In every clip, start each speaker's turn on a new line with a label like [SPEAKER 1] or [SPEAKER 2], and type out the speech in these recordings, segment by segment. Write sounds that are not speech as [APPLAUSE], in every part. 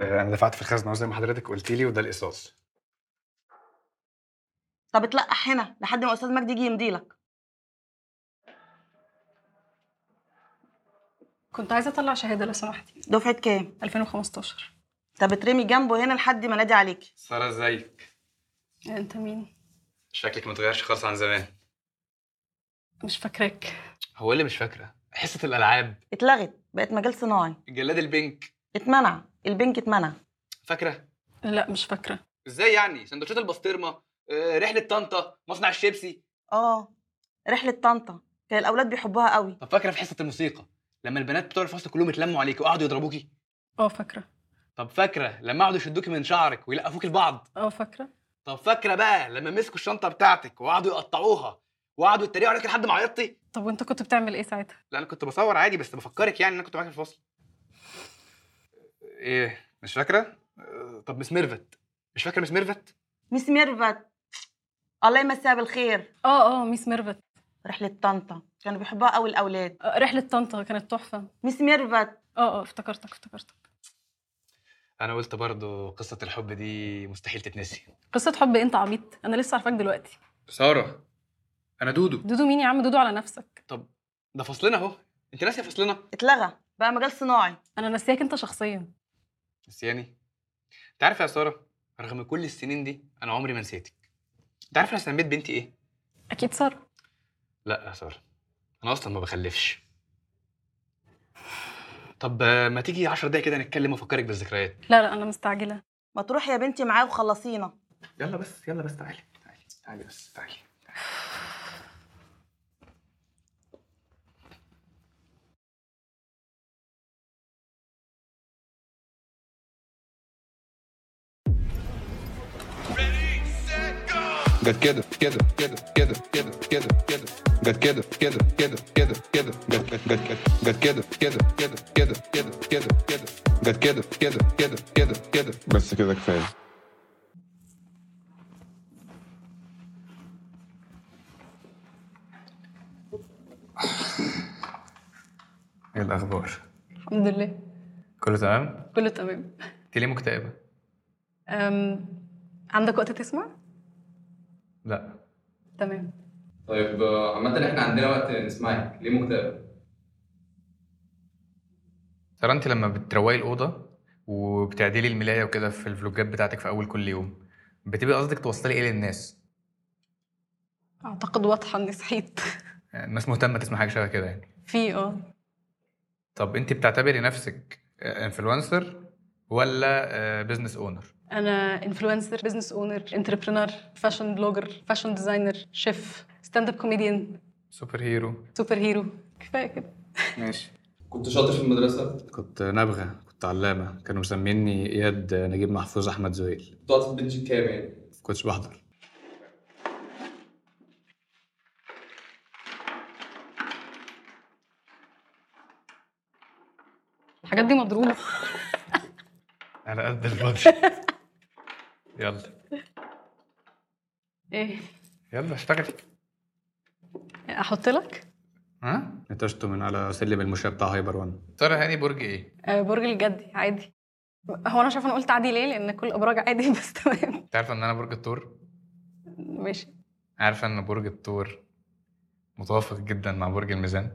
[SPEAKER 1] آه، انا دفعت في الخزنه زي ما حضرتك قلت لي وده القصاص
[SPEAKER 2] طب اتلقح هنا لحد ما استاذ مجدي يجي يمضيلك
[SPEAKER 3] كنت عايزه اطلع شهاده لو سمحتي
[SPEAKER 2] دفعه كام
[SPEAKER 3] 2015
[SPEAKER 2] طب اترمي جنبه هنا لحد ما نادي عليكي
[SPEAKER 1] ساره ازيك
[SPEAKER 3] انت مين
[SPEAKER 1] شكلك متغيرش خالص عن زمان
[SPEAKER 3] مش فاكراك
[SPEAKER 1] هو اللي مش فاكره حصه الالعاب
[SPEAKER 2] اتلغت بقت مجال صناعي
[SPEAKER 1] الجلاد البنك
[SPEAKER 2] اتمنع البنك اتمنع
[SPEAKER 1] فاكره
[SPEAKER 3] لا مش فاكره
[SPEAKER 1] ازاي يعني سندوتشات البسطرمه آه، رحله طنطا مصنع الشيبسي
[SPEAKER 2] اه رحله طنطا كان الاولاد بيحبوها قوي
[SPEAKER 1] طب فاكره في حصه الموسيقى لما البنات بتوع الفصل كلهم اتلموا عليكي وقعدوا يضربوكي
[SPEAKER 3] اه فاكره
[SPEAKER 1] طب فاكره لما قعدوا يشدوكي من شعرك ويلقفوكي لبعض
[SPEAKER 3] اه فاكره
[SPEAKER 1] طب فاكره بقى لما مسكوا الشنطه بتاعتك وقعدوا يقطعوها وقعدوا يتريقوا عليك لحد ما عيطتي
[SPEAKER 3] طب وانت كنت بتعمل ايه ساعتها
[SPEAKER 1] لا انا كنت بصور عادي بس بفكرك يعني ان انا كنت معاك في الفصل ايه مش فاكره أه، طب مس ميرفت مش فاكره مس ميرفت
[SPEAKER 2] ميس ميرفت الله يمسيها بالخير
[SPEAKER 3] اه اه ميس ميرفت
[SPEAKER 2] رحله طنطا كانوا بيحبوها قوي الاولاد
[SPEAKER 3] آه، رحله طنطا كانت تحفه
[SPEAKER 2] ميس ميرفت
[SPEAKER 3] اه اه افتكرتك افتكرتك
[SPEAKER 1] انا قلت برضو قصه الحب دي مستحيل تتنسي
[SPEAKER 3] قصه حب إيه؟ انت عبيط انا لسه عارفاك دلوقتي
[SPEAKER 1] ساره انا دودو
[SPEAKER 3] دودو مين يا عم دودو على نفسك
[SPEAKER 1] ده فصلنا اهو انت ناسيه فصلنا
[SPEAKER 2] اتلغى بقى مجال صناعي
[SPEAKER 3] انا ناسياك انت شخصيا
[SPEAKER 1] نسياني انت يعني. عارف يا ساره رغم كل السنين دي انا عمري ما نسيتك انت عارف انا سميت بنتي ايه
[SPEAKER 3] اكيد ساره
[SPEAKER 1] لا يا ساره انا اصلا ما بخلفش طب آه، ما تيجي 10 دقايق كده نتكلم وافكرك بالذكريات
[SPEAKER 3] لا لا انا مستعجله
[SPEAKER 2] ما تروحي يا بنتي معاه وخلصينا
[SPEAKER 1] يلا بس يلا بس تعالي تعالي تعالي بس تعالي
[SPEAKER 4] قد كده كده كده كده كده كده كده قد كده كده كده كده كده قد قد قد كده كده كده كده كده كده كده قد كده كده كده كده كده بس كده كفايه
[SPEAKER 1] ايه الاخبار
[SPEAKER 3] الحمد لله
[SPEAKER 1] كله تمام
[SPEAKER 3] كله تمام
[SPEAKER 1] انت ليه مكتئبه
[SPEAKER 3] أم... عندك وقت تسمع
[SPEAKER 1] لا
[SPEAKER 3] تمام
[SPEAKER 5] طيب آه، عامة احنا عندنا وقت نسمعك ليه مكتئب؟
[SPEAKER 1] ترى انت لما بتروقي الاوضه وبتعدلي الملايه وكده في الفلوجات بتاعتك في اول كل يوم بتبقى قصدك توصلي ايه للناس
[SPEAKER 3] اعتقد واضحه اني صحيت
[SPEAKER 1] يعني الناس مهتمه تسمع حاجه شبه كده يعني
[SPEAKER 3] في اه
[SPEAKER 1] طب انت بتعتبري نفسك انفلونسر ولا آه، بزنس اونر
[SPEAKER 3] انا انفلونسر بزنس اونر انتربرينور فاشن بلوجر فاشن ديزاينر شيف ستاند اب كوميديان
[SPEAKER 1] سوبر هيرو
[SPEAKER 3] سوبر هيرو كفايه كده
[SPEAKER 1] ماشي
[SPEAKER 5] كنت شاطر في المدرسة؟
[SPEAKER 1] كنت نابغه كنت علامه كانوا مسميني اياد نجيب محفوظ احمد زويل
[SPEAKER 5] كنت قاعد في البنش كام يعني؟
[SPEAKER 1] كنتش بحضر
[SPEAKER 3] الحاجات دي مضروبه
[SPEAKER 1] على قد الفاضي يلا
[SPEAKER 3] ايه
[SPEAKER 1] يلا اشتغلي
[SPEAKER 3] احط لك
[SPEAKER 1] ها نتشته من على سلم المشاة بتاع هايبر 1 ترى هاني برج ايه
[SPEAKER 3] آه، برج الجدي عادي هو انا شايفه انا قلت عادي ليه لان كل الابراج عادي [LAUGHS] بس تمام
[SPEAKER 1] انت عارفه ان انا برج الثور
[SPEAKER 3] ماشي
[SPEAKER 1] عارفه ان برج الثور متوافق جدا مع برج الميزان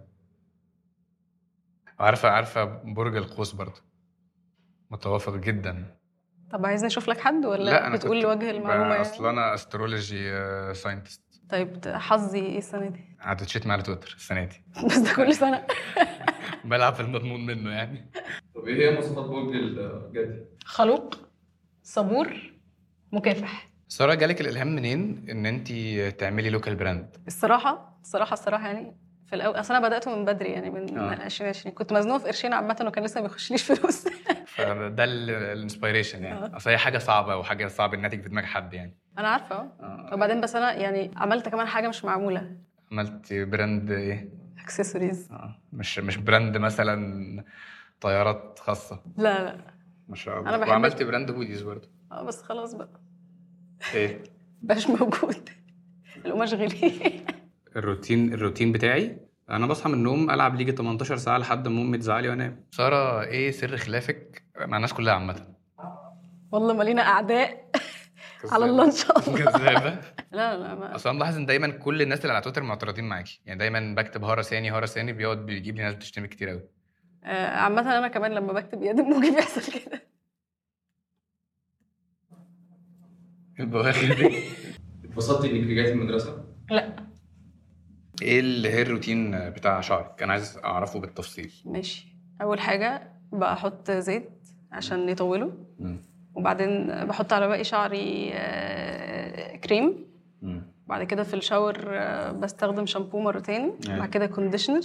[SPEAKER 1] وعارفه عارفه برج القوس برضه متوافق جدا
[SPEAKER 3] طب عايزني اشوف لك حد ولا بتقول
[SPEAKER 1] كنت-
[SPEAKER 3] لوجه المعلومه
[SPEAKER 1] بقى
[SPEAKER 3] يعني؟
[SPEAKER 1] اصل انا استرولوجي ساينتست
[SPEAKER 3] طيب ده حظي ايه السنه دي
[SPEAKER 1] آه،
[SPEAKER 3] [LAUGHS]
[SPEAKER 1] قعدت شيت على تويتر السنه دي
[SPEAKER 3] بس ده كل سنه
[SPEAKER 1] [LAUGHS] بلعب في المضمون منه يعني
[SPEAKER 5] طب ايه هي مواصفات برج الجدي؟
[SPEAKER 3] خلوق صبور مكافح
[SPEAKER 1] ساره جالك الالهام منين ان انت تعملي لوكال براند
[SPEAKER 3] الصراحه الصراحه الصراحه يعني في الاول اصل انا بدات من بدري يعني من
[SPEAKER 1] آه.
[SPEAKER 3] 2020 كنت مزنوقه في قرشين عامه وكان لسه ما بيخشليش [LAUGHS] فلوس
[SPEAKER 1] فده الانسبيريشن يعني
[SPEAKER 3] آه.
[SPEAKER 1] اصل هي حاجه صعبه وحاجه صعب انها تيجي في دماغ حد يعني
[SPEAKER 3] انا عارفه أهو. وبعدين بس انا يعني عملت كمان حاجه مش معموله
[SPEAKER 1] عملت براند ايه
[SPEAKER 3] اكسسوارز
[SPEAKER 1] آه، مش مش براند مثلا طيارات خاصه
[SPEAKER 3] لا لا
[SPEAKER 1] ما شاء
[SPEAKER 3] أنا بحب-
[SPEAKER 1] وعملت براند هوديز برضه
[SPEAKER 3] اه بس خلاص بقى
[SPEAKER 1] ايه
[SPEAKER 3] بقاش موجود [LAUGHS] القماش غلي [LAUGHS]
[SPEAKER 1] الروتين الروتين بتاعي انا بصحى من النوم العب ليجي 18 ساعه لحد ما امي تزعلي وانام ساره ايه سر خلافك إيه مع الناس كلها عامه
[SPEAKER 3] والله ما لينا اعداء [LAUGHS] على الله ان شاء الله
[SPEAKER 1] [LAUGHS] كذابه
[SPEAKER 3] لا لا ما
[SPEAKER 1] اصلا ملاحظ ان دايما كل الناس اللي على تويتر معترضين معاكي يعني دايما بكتب هرساني هرساني بيقعد بيجيب لي ناس بتشتمي كتير قوي
[SPEAKER 3] آه، عامة أنا كمان لما بكتب يادب ممكن [LAUGHS] بيحصل كده
[SPEAKER 1] البواخر [LAUGHS] دي
[SPEAKER 5] اتبسطت انك رجعتي المدرسه
[SPEAKER 3] لا
[SPEAKER 1] ايه اللي هي الروتين بتاع شعرك انا عايز اعرفه بالتفصيل
[SPEAKER 3] ماشي أول حاجة بحط زيت عشان يطوله وبعدين بحط على باقي شعري آه، كريم بعد كده في الشاور آه، بستخدم شامبو مرتين
[SPEAKER 1] أيوة.
[SPEAKER 3] بعد كده كونديشنر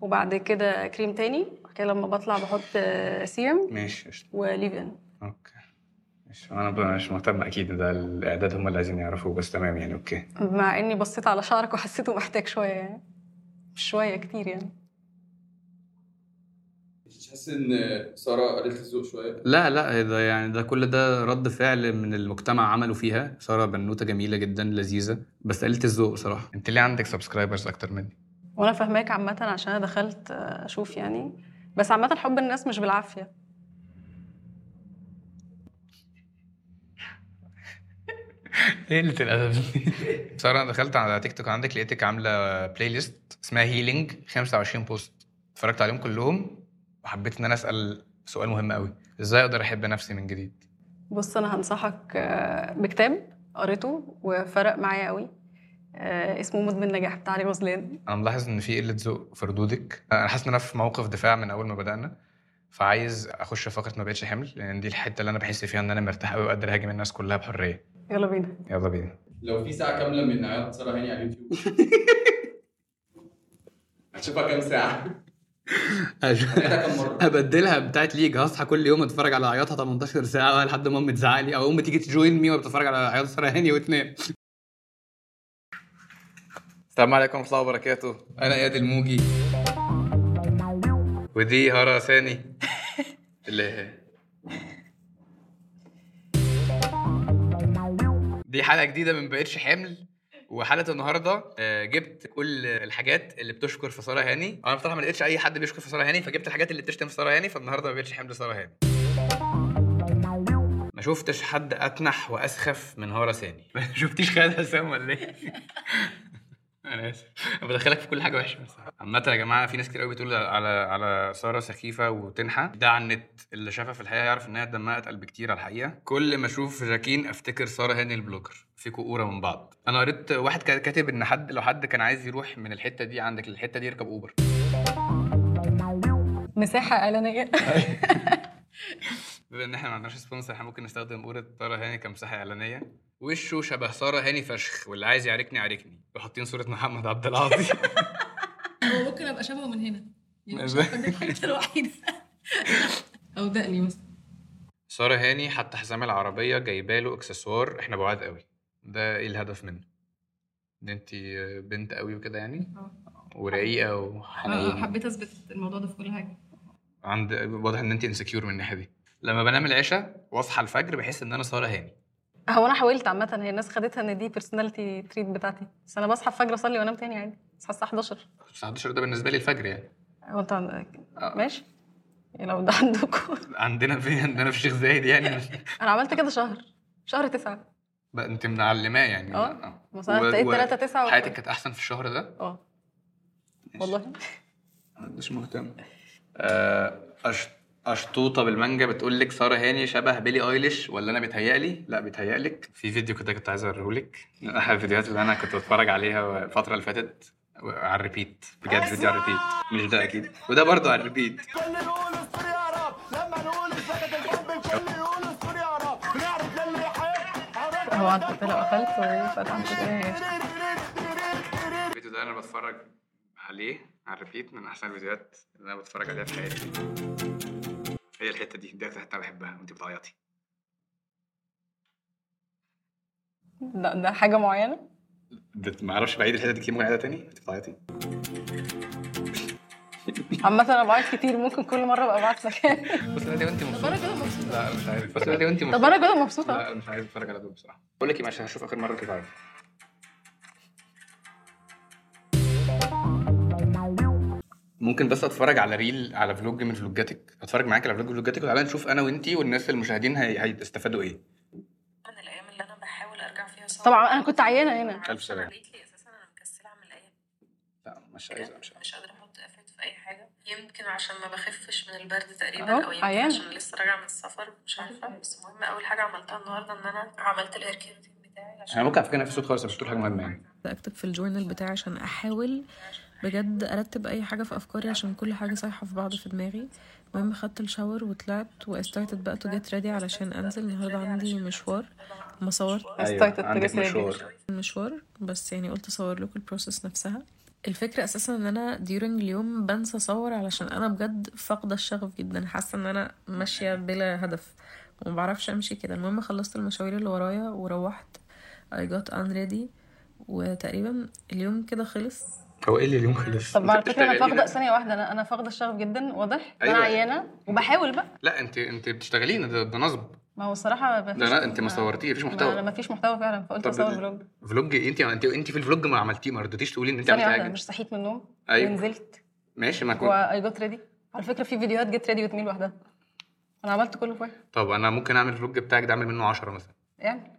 [SPEAKER 3] وبعد كده كريم تاني بعد كده لما بطلع بحط آه، سيرم
[SPEAKER 1] ماشي قشطة.
[SPEAKER 3] وليفين
[SPEAKER 1] اوكي ماشي انا ب- مش مهتم اكيد ده الاعداد هم اللي عايزين يعرفوه بس تمام يعني اوكي
[SPEAKER 3] مع اني بصيت على شعرك وحسيته محتاج شويه يعني مش شويه كتير يعني
[SPEAKER 5] مش تحس ان ساره قللت الذوق شويه
[SPEAKER 6] لا لا ده يعني ده كل ده رد فعل من المجتمع عمله فيها ساره بنوته جميله جدا لذيذه بس قلت الذوق بصراحه
[SPEAKER 1] انت ليه عندك سبسكرايبرز اكتر مني
[SPEAKER 3] وانا فاهماك عامه عشان انا دخلت آه، اشوف يعني بس عامه حب الناس مش بالعافيه
[SPEAKER 1] قلة [LAUGHS] الادب دي ساره انا دخلت على تيك توك عندك لقيتك عامله بلاي ليست اسمها هيلينج 25 بوست اتفرجت عليهم كلهم وحبيت ان انا اسال سؤال مهم قوي ازاي اقدر احب نفسي من جديد
[SPEAKER 3] بص انا هنصحك آه، بكتاب قريته وفرق معايا قوي آه، اسمه مدمن نجاح بتاع علي غزلان
[SPEAKER 1] انا ملاحظ ان في قله ذوق في ردودك انا حاسس ان انا في موقف دفاع من اول ما بدانا فعايز اخش في فقره ما بقتش حمل لان دي الحته اللي انا بحس فيها ان انا مرتاح قوي وقادر اهاجم الناس كلها بحريه
[SPEAKER 3] يلا بينا
[SPEAKER 1] يلا بينا
[SPEAKER 5] لو في ساعه كامله من عياط ساره هاني على اليوتيوب هتشوفها كام ساعه هنعيدها كام مره
[SPEAKER 6] هبدلها بتاعت ليج هصحى كل يوم اتفرج على عياطها 18 ساعه بقى لحد ما امي تزعق لي او امي تيجي تجوين مي وانا بتفرج على عياط ساره هاني وتنام
[SPEAKER 1] السلام عليكم ورحمه الله وبركاته انا اياد الموجي ودي هرى ثاني اللي هي دي حلقه جديده من بقتش حمل وحلقه النهارده آه، جبت كل الحاجات اللي بتشكر في ساره هاني انا بصراحه ما لقيتش اي حد بيشكر في ساره هاني فجبت الحاجات اللي بتشتم في ساره هاني فالنهارده ما بقتش حمل ساره هاني ما شفتش حد اتنح واسخف من هارة ثاني [LAUGHS] ما شفتيش خالد حسام ولا ايه انا اسف [LAUGHS] أنا بدخلك في كل حاجه وحشه بس. عامه يا جماعه في ناس كتير قوي بتقول على على ساره سخيفه وتنحى ده على النت اللي شافها في الحقيقه يعرف انها دمها اتقل بكتير على الحقيقه كل ما اشوف جاكين افتكر ساره هاني البلوجر فيكوا قوره من بعض انا قريت واحد كان كاتب ان حد لو حد كان عايز يروح من الحته دي عندك للحته دي يركب اوبر
[SPEAKER 3] مساحه اعلانيه
[SPEAKER 1] بما ان احنا ما عندناش سبونسر احنا ممكن نستخدم قوره ساره هاني كمساحه اعلانيه وشه شبه ساره هاني فشخ واللي عايز يعاركني عاركني وحاطين صوره محمد عبد [LAUGHS] العاطي
[SPEAKER 7] [LAUGHS] هو ممكن ابقى شبهه من هنا يعني مش
[SPEAKER 1] ده.
[SPEAKER 7] عارفة دي الحته
[SPEAKER 1] [LAUGHS]
[SPEAKER 7] الوحيده او دقني مثلا
[SPEAKER 1] ساره هاني حتى حزام العربيه جايباله اكسسوار احنا بعاد قوي ده ايه الهدف منه ان انت بنت قوي وكده يعني
[SPEAKER 7] اه.
[SPEAKER 1] ورقيقه
[SPEAKER 7] آه،
[SPEAKER 1] وحنينه
[SPEAKER 7] حبيت اثبت الموضوع ده في كل حاجه
[SPEAKER 1] عند واضح ان انت انسكيور من الناحيه دي لما بنام العشاء واصحى الفجر بحس ان انا ساره هاني
[SPEAKER 3] هو انا حاولت عامه هي الناس خدتها ان دي بيرسوناليتي تريت بتاعتي بس انا بصحى الفجر اصلي وانام تاني عادي بصحى الساعه 11
[SPEAKER 1] الساعه 11 ده بالنسبه لي الفجر يعني
[SPEAKER 3] هو انت عندك-
[SPEAKER 1] آه.
[SPEAKER 3] ماشي يعني لو ده عندكم [LAUGHS]
[SPEAKER 1] عندنا في عندنا في الشيخ زايد يعني
[SPEAKER 3] انا عملت كده شهر شهر تسعة
[SPEAKER 1] بقى انت معلماه يعني
[SPEAKER 3] اه.
[SPEAKER 1] اه.
[SPEAKER 3] مثلا
[SPEAKER 1] و-
[SPEAKER 3] تلاقيت
[SPEAKER 1] و-
[SPEAKER 3] 3 9
[SPEAKER 1] حياتك كانت احسن في الشهر ده
[SPEAKER 3] اه والله
[SPEAKER 1] مش مهتم اشطوطه آه، بالمانجا بتقول لك ساره هاني شبه بيلي ايليش ولا انا بيتهيألي؟ لا بيتهيألك في فيديو كده كنت عايز اوريهولك من احد [LAUGHS] الفيديوهات اللي انا كنت بتفرج عليها الفتره اللي فاتت على الريبيت بجد فيديو على الريبيت مش ده اكيد وده برضه على الريبيت
[SPEAKER 3] هو انت لو طيب، اكلت وفتحت كده
[SPEAKER 1] الفيديو ده انا بتفرج عليه على الريبيت من احسن الفيديوهات اللي انا بتفرج عليها في حياتي هي الحته دي دي اكتر حته بحبها وانت بتعيطي
[SPEAKER 3] ده, ده حاجه معينه
[SPEAKER 1] بت- ما اعرفش بعيد الحته دي كتير ممكن اعيدها تاني انت بتعيطي
[SPEAKER 3] عامه انا بعيط كتير ممكن كل مره ابقى ابعت لك
[SPEAKER 1] بص لي وانت
[SPEAKER 7] طب انا
[SPEAKER 1] مبسوطه
[SPEAKER 7] كده مبسوطه
[SPEAKER 1] لا مش عايز بص لي وانت
[SPEAKER 3] طب
[SPEAKER 1] مبسوطه
[SPEAKER 3] انا كده مبسوطه
[SPEAKER 1] لا مش عايز اتفرج على دول بصراحه بقول لك ايه ماشي هشوف اخر مره كده عارف ممكن بس اتفرج على ريل على فلوج من فلوجاتك اتفرج معاك على فلوج من فلوجاتك وتعالى نشوف انا وانتي والناس المشاهدين هي... هيستفادوا ايه
[SPEAKER 8] من الايام اللي انا بحاول ارجع فيها صور
[SPEAKER 3] طبعا انا كنت عيانه هنا
[SPEAKER 1] ألف سلامة.
[SPEAKER 8] قالت لي اساسا انا مكسله اعمل اي
[SPEAKER 1] لا مش عايزه
[SPEAKER 8] حاجه
[SPEAKER 1] مش عايزه
[SPEAKER 8] مش قادره احط افات في اي حاجه يمكن عشان ما بخفش من البرد
[SPEAKER 3] أهو،
[SPEAKER 8] تقريبا او يمكن
[SPEAKER 3] عيان. أيوة.
[SPEAKER 8] عشان لسه راجعه من السفر مش عارفه بس المهم اول حاجه عملتها النهارده ان انا عملت الاير كيرتين بتاعي عشان
[SPEAKER 1] انا ممكن على فكره انفس صوت خالص مش بتقول حاجه مهمه يعني
[SPEAKER 7] اكتب في الجورنال بتاعي عشان احاول بجد ارتب اي حاجه في افكاري عشان كل حاجه صايحه في بعض في دماغي المهم خدت الشاور وطلعت واستارتد بقى تو جيت ريدي علشان انزل النهارده عندي مشوار ما صورت
[SPEAKER 3] Excited to
[SPEAKER 1] عندك
[SPEAKER 3] get ready.
[SPEAKER 1] مشوار
[SPEAKER 7] المشوار بس يعني قلت اصور لكم البروسيس نفسها الفكرة اساسا ان انا ديورنج اليوم بنسى اصور علشان انا بجد فاقدة الشغف جدا حاسة ان انا ماشية بلا هدف وما بعرفش امشي كده المهم خلصت المشاوير اللي ورايا وروحت I got unready وتقريبا اليوم كده خلص
[SPEAKER 1] هو ايه اللي اليوم خلص
[SPEAKER 3] طب على
[SPEAKER 1] أنت
[SPEAKER 3] فكره انا
[SPEAKER 1] بتشتغلي [LAUGHS]
[SPEAKER 3] فاقده
[SPEAKER 1] ده؟
[SPEAKER 3] ثانيه واحده انا انا فاقده الشغف جدا واضح أيوة.
[SPEAKER 1] أيوة.
[SPEAKER 3] انا عيانه وبحاول بقى
[SPEAKER 1] لا انت انت بتشتغلينا ده, ده نصب
[SPEAKER 3] ما هو الصراحه ما
[SPEAKER 1] لا، أنت ما صورتيه، مفيش محتوى.
[SPEAKER 3] انا ما فيش محتوى فعلا فقلت
[SPEAKER 1] طب
[SPEAKER 3] اصور
[SPEAKER 1] ال-
[SPEAKER 3] فلوج
[SPEAKER 1] فلوج إيه؟ انت انت انت في الفلوج ما عملتيه ما رضيتيش تقولي ان انت عملتي
[SPEAKER 3] ثانيه واحده
[SPEAKER 1] حاجه
[SPEAKER 3] مش صحيت من النوم
[SPEAKER 1] أيوة.
[SPEAKER 3] ونزلت
[SPEAKER 1] ماشي ما كنت
[SPEAKER 3] واي جوت ريدي على فكره في فيديوهات جيت ريدي وتميل لوحدها انا عملت كله كويس
[SPEAKER 1] طب انا ممكن اعمل الفلوج بتاعك ده اعمل منه 10 مثلا
[SPEAKER 3] يعني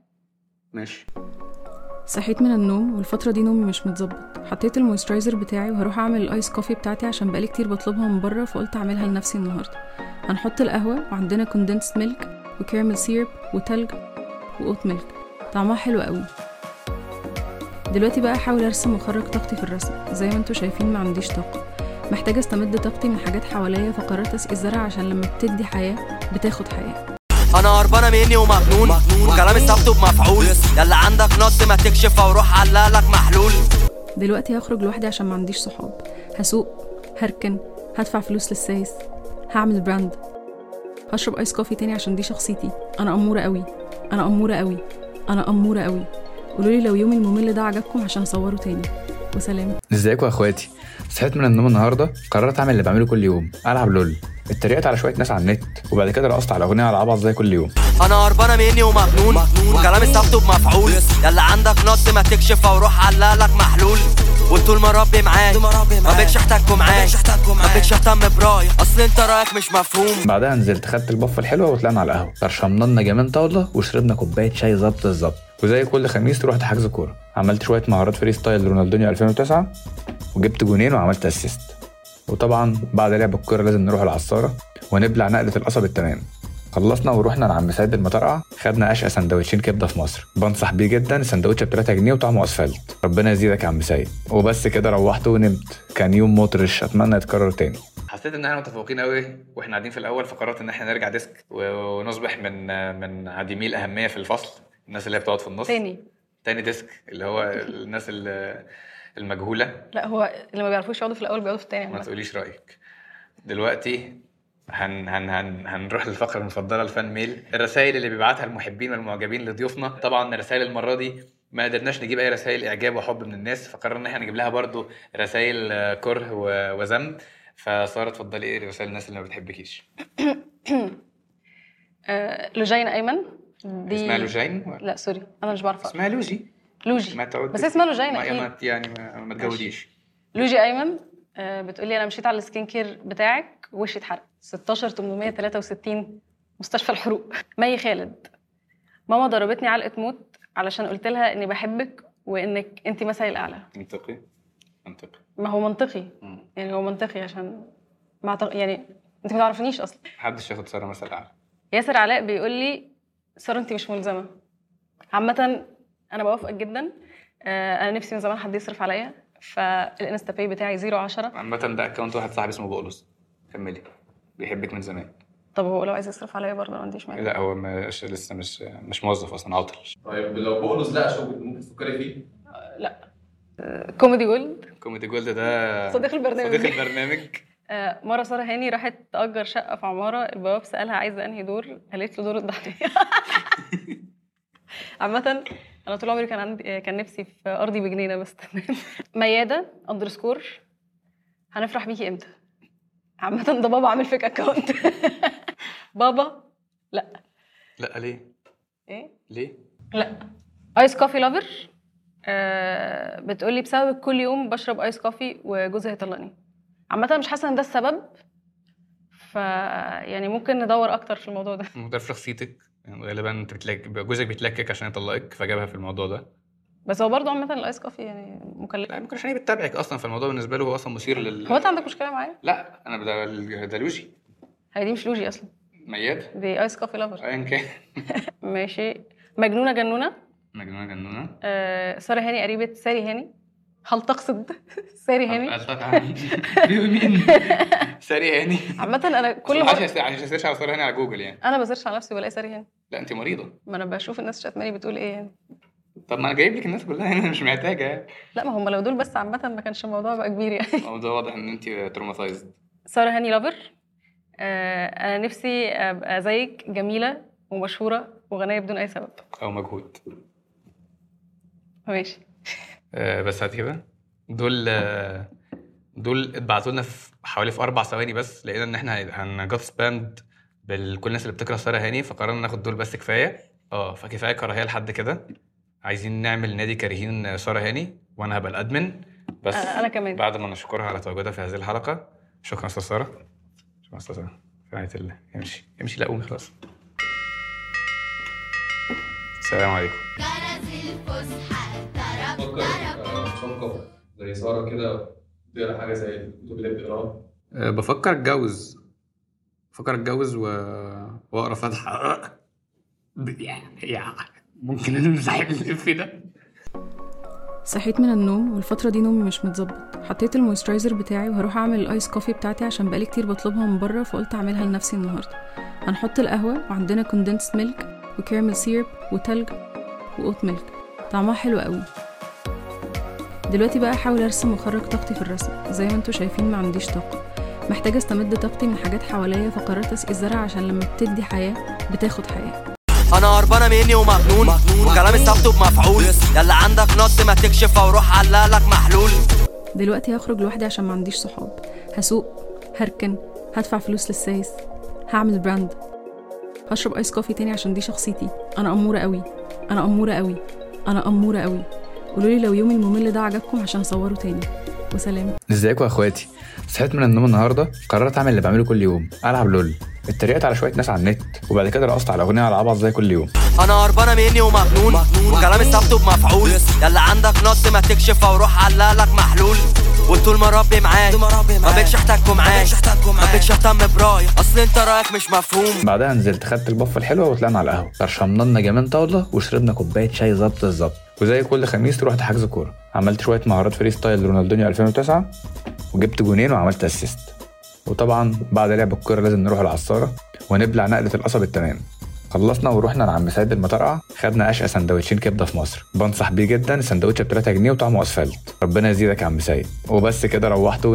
[SPEAKER 1] ماشي
[SPEAKER 9] صحيت من النوم والفترة دي نومي مش متظبط حطيت المويسترايزر بتاعي وهروح اعمل الايس كوفي بتاعتي عشان بقالي كتير بطلبها من بره فقلت اعملها لنفسي النهاردة هنحط القهوة وعندنا كوندنسد ميلك وكراميل سيرب وتلج واوت ميلك طعمها حلو قوي دلوقتي بقى احاول ارسم واخرج طاقتي في الرسم زي ما انتوا شايفين ما عنديش طاقة محتاجة استمد طاقتي من حاجات حواليا فقررت اسقي الزرع عشان لما بتدي حياة بتاخد حياة
[SPEAKER 10] انا هربانه مني ومجنون وكلامي ثابته بمفعول يلا عندك نط ما تكشفها وروح علقلك محلول
[SPEAKER 9] دلوقتي هخرج لوحدي عشان ما عنديش صحاب هسوق هركن هدفع فلوس للسايس هعمل براند هشرب ايس كوفي تاني عشان دي شخصيتي انا اموره قوي انا اموره قوي انا اموره قوي قولولي لو يومي الممل ده عجبكم عشان اصوره تاني وسلام
[SPEAKER 11] ازيكم يا اخواتي صحيت من النوم النهارده قررت اعمل اللي بعمله كل يوم العب لول اتريقت على شويه ناس على النت وبعد كده رقصت على اغنيه على عبط زي كل يوم
[SPEAKER 10] انا هربانه مني ومجنون وكلامي ثابته بمفعول يلا عندك نط ما تكشفها وروح علقلك محلول وطول ما ربي معاك ما بقتش احتاجكم معاك ما بقتش اهتم برايك اصل انت رايك مش مفهوم
[SPEAKER 11] بعدها نزلت خدت البفه الحلوه وطلعنا على القهوه ترشمنا جمال طاوله وشربنا كوبايه شاي ظبط الظبط وزي كل خميس رحت حجز كوره عملت شويه مهارات فري ستايل رونالدينيو 2009 وجبت جونين وعملت اسيست وطبعا بعد لعب الكوره لازم نروح العصاره ونبلع نقله القصب التمام خلصنا ورحنا لعم سيد المطرقع خدنا اشقى سندوتشين كبده في مصر بنصح بيه جدا السندوتشه ب 3 جنيه وطعمه اسفلت ربنا يزيدك يا عم سيد وبس كده روحت ونمت كان يوم مطرش اتمنى يتكرر تاني
[SPEAKER 1] حسيت ان احنا متفوقين قوي واحنا قاعدين في الاول فقررت ان احنا نرجع ديسك و- ونصبح من من عديمي الاهميه في الفصل الناس اللي هي بتقعد في النص
[SPEAKER 3] تاني
[SPEAKER 1] تاني ديسك اللي هو الناس ال- المجهوله
[SPEAKER 3] لا هو اللي ما بيعرفوش يقعدوا في الاول بيقعدوا في التاني
[SPEAKER 1] ما
[SPEAKER 3] عامة.
[SPEAKER 1] تقوليش رايك دلوقتي هن هن هن هنروح للفقره المفضله الفان ميل الرسائل اللي بيبعتها المحبين والمعجبين لضيوفنا طبعا الرسائل المره دي ما قدرناش نجيب اي رسائل اعجاب وحب من الناس فقررنا ان احنا نجيب لها برضو رسائل آه، كره و- وذم فساره اتفضلي ايه رسائل الناس اللي ما بتحبكيش
[SPEAKER 3] آه، لوجين ايمن دي
[SPEAKER 1] اسمها لوجين ولا-
[SPEAKER 3] لا سوري انا مش بعرف أقرأ.
[SPEAKER 1] اسمها لوجي
[SPEAKER 3] لوجي
[SPEAKER 1] ما تعود
[SPEAKER 3] بس اسمها إيه؟ لوجين
[SPEAKER 1] ما
[SPEAKER 3] أكيد.
[SPEAKER 1] ما- يعني ما, ما تجوديش
[SPEAKER 3] لوجي ايمن آه، بتقولي انا مشيت على السكين كير بتاعك وشي اتحرق 16 863 مستشفى الحروق [LAUGHS] مي خالد ماما ضربتني علقه موت علشان قلت لها اني بحبك وانك انت مثلي الاعلى
[SPEAKER 1] منطقي منطقي
[SPEAKER 3] ما هو منطقي
[SPEAKER 1] مم.
[SPEAKER 3] يعني هو منطقي عشان ما أعتق- يعني انت ما تعرفنيش اصلا
[SPEAKER 1] محدش ياخد ساره مثل اعلى
[SPEAKER 3] ياسر علاء بيقول لي ساره انت مش ملزمه عامه انا بوافقك جدا آه، انا نفسي من زمان حد يصرف عليا فالانستا باي بتاعي 0 10
[SPEAKER 1] عامة ده اكونت واحد صاحبي اسمه بولس كملي بيحبك من زمان
[SPEAKER 3] طب هو لو عايز يصرف عليا برضه ما عنديش مانع
[SPEAKER 1] لا هو مش لسه مش مش موظف اصلا عاطل
[SPEAKER 5] طيب لو بقولوا لا شغل ممكن تفكري فيه
[SPEAKER 3] كوميدي جولد
[SPEAKER 1] كوميدي جولد ده
[SPEAKER 3] صديق البرنامج.
[SPEAKER 1] صديق البرنامج
[SPEAKER 3] آه، مره ساره هاني راحت تاجر شقه في عماره البواب سالها عايزه انهي دور قالت له دور [LAUGHS] الضحيه عامه انا طول عمري كان عندي آه، كان نفسي في ارضي بجنينه بس تمام مياده اندرسكور هنفرح بيكي امتى عامه ده بابا عامل فيك اكونت [LAUGHS] بابا
[SPEAKER 1] لا ليه؟
[SPEAKER 3] ايه
[SPEAKER 1] ليه؟
[SPEAKER 3] لا ايس كوفي لافر آه بتقولي بسببك كل يوم بشرب ايس كوفي وجوزي هيطلقني عامه أنا مش حاسه ان ده السبب ف يعني ممكن ندور اكتر في الموضوع ده
[SPEAKER 1] مقدار في شخصيتك يعني غالبا انت بتلاك جوزك بيتلكك عشان يطلقك فجابها في الموضوع ده طيب،
[SPEAKER 3] بس هو برضه عامه الايس كوفي يعني مكلف
[SPEAKER 1] ممكن عشان هي بتتابعك اصلا فالموضوع بالنسبه له هو اصلا مثير لل
[SPEAKER 3] هو انت عندك مشكله معايا
[SPEAKER 1] لا انا بدا- ده لوجي
[SPEAKER 3] هي دي مش لوجي اصلا
[SPEAKER 1] مياد
[SPEAKER 3] دي ايس كوفي لافر
[SPEAKER 1] ايا كان
[SPEAKER 3] ماشي مجنونه جنونه
[SPEAKER 1] مجنونه جنونه
[SPEAKER 3] آه ساره هاني قريبه ساري هاني هل تقصد [LAUGHS] ساري هاني
[SPEAKER 1] أسفك عني.
[SPEAKER 3] [LAUGHS]
[SPEAKER 1] بيقول مين ساري هاني
[SPEAKER 3] عامه انا كل
[SPEAKER 1] عشان
[SPEAKER 3] مره
[SPEAKER 1] أس- عشان اسيرش على ساري هاني على جوجل يعني
[SPEAKER 3] انا بسيرش على نفسي بلاقي ساري هاني
[SPEAKER 1] لا انت مريضه
[SPEAKER 3] ما انا بشوف الناس شتماني بتقول ايه يعني
[SPEAKER 1] طب ما انا جايب لك الناس كلها هنا مش محتاجه
[SPEAKER 3] لا ما هم لو دول بس عامه ما كانش الموضوع بقى كبير يعني [LAUGHS]
[SPEAKER 1] الموضوع واضح ان انت تروماتايزد
[SPEAKER 3] ساره هاني لافر آه انا نفسي ابقى زيك جميله ومشهوره وغنيه بدون اي سبب
[SPEAKER 1] او مجهود
[SPEAKER 3] ماشي
[SPEAKER 1] آه، بس هات كده دول آه، دول اتبعتوا لنا في حوالي في اربع ثواني بس لقينا ان احنا هنجاب سباند بكل الناس اللي بتكره ساره هاني فقررنا ناخد دول بس كفايه اه فكفايه كراهيه لحد كده عايزين نعمل نادي كارهين ساره هاني وانا هبقى الادمن بس
[SPEAKER 3] آه، أنا كمان.
[SPEAKER 1] بعد ما نشكرها على تواجدها في هذه الحلقه شكرا استاذ ساره شكرا استاذ ساره في رعايه الله امشي امشي لا قومي خلاص السلام عليكم
[SPEAKER 5] فكر بشنطة زي سارة كده بتقرا حاجة زي الكتب اللي بتقراها
[SPEAKER 6] أه، بفكر اتجوز بفكر اتجوز و... واقرا [LAUGHS] فاتحه يعني ممكن نمسح اللف ده
[SPEAKER 9] صحيت من النوم والفترة دي نومي مش متظبط حطيت المويسترايزر بتاعي وهروح اعمل الايس كوفي بتاعتي عشان بقالي كتير بطلبها من بره فقلت اعملها لنفسي النهاردة هنحط القهوة وعندنا كوندنسد ميلك وكراميل سيرب وتلج وقوت ميلك طعمها حلو قوي دلوقتي بقى احاول ارسم واخرج طاقتي في الرسم زي ما انتوا شايفين ما عنديش طاقة محتاجة استمد طاقتي من حاجات حواليا فقررت اسقي الزرع عشان لما بتدي حياة بتاخد حياة
[SPEAKER 10] انا هربانه مني ومجنون وكلامي ثابت بمفعول يلا عندك نقص ما تكشفها وروح علقلك محلول
[SPEAKER 9] دلوقتي هخرج لوحدي عشان ما عنديش صحاب هسوق هركن هدفع فلوس للسايس هعمل براند هشرب ايس كوفي تاني عشان دي شخصيتي انا اموره قوي انا اموره قوي انا اموره قوي قولولي لو يومي الممل ده عجبكم عشان اصوره تاني وسلام
[SPEAKER 11] ازيكم يا اخواتي صحيت من النوم النهارده قررت اعمل اللي بعمله كل يوم العب لول اتريقت على شويه ناس على النت وبعد كده رقصت على اغنيه على عبط زي كل يوم
[SPEAKER 10] انا هربانه مني ومجنون وكلامي ثابت بمفعول يلا عندك نقص ما تكشفها وروح علقلك محلول وطول ما ربي معاك ما بقتش احتاجكم معاك ما بقتش اهتم برايك اصل انت رايك مش مفهوم
[SPEAKER 11] بعدها نزلت خدت البفه الحلوه وطلعنا على القهوه ترشمنا جمان طاوله وشربنا كوبايه شاي ظبط الظبط وزي كل خميس رحت حجز كوره عملت شويه مهارات فري ستايل رونالدينيو 2009 وجبت جونين وعملت اسيست وطبعا بعد لعب الكوره لازم نروح العصاره ونبلع نقله القصب التمام خلصنا ورحنا لعم سيد المطرقع خدنا اشقى سندوتشين كبده في مصر بنصح بيه جدا السندوتش ب 3 جنيه وطعمه اسفلت ربنا يزيدك يا عم سيد وبس كده روحت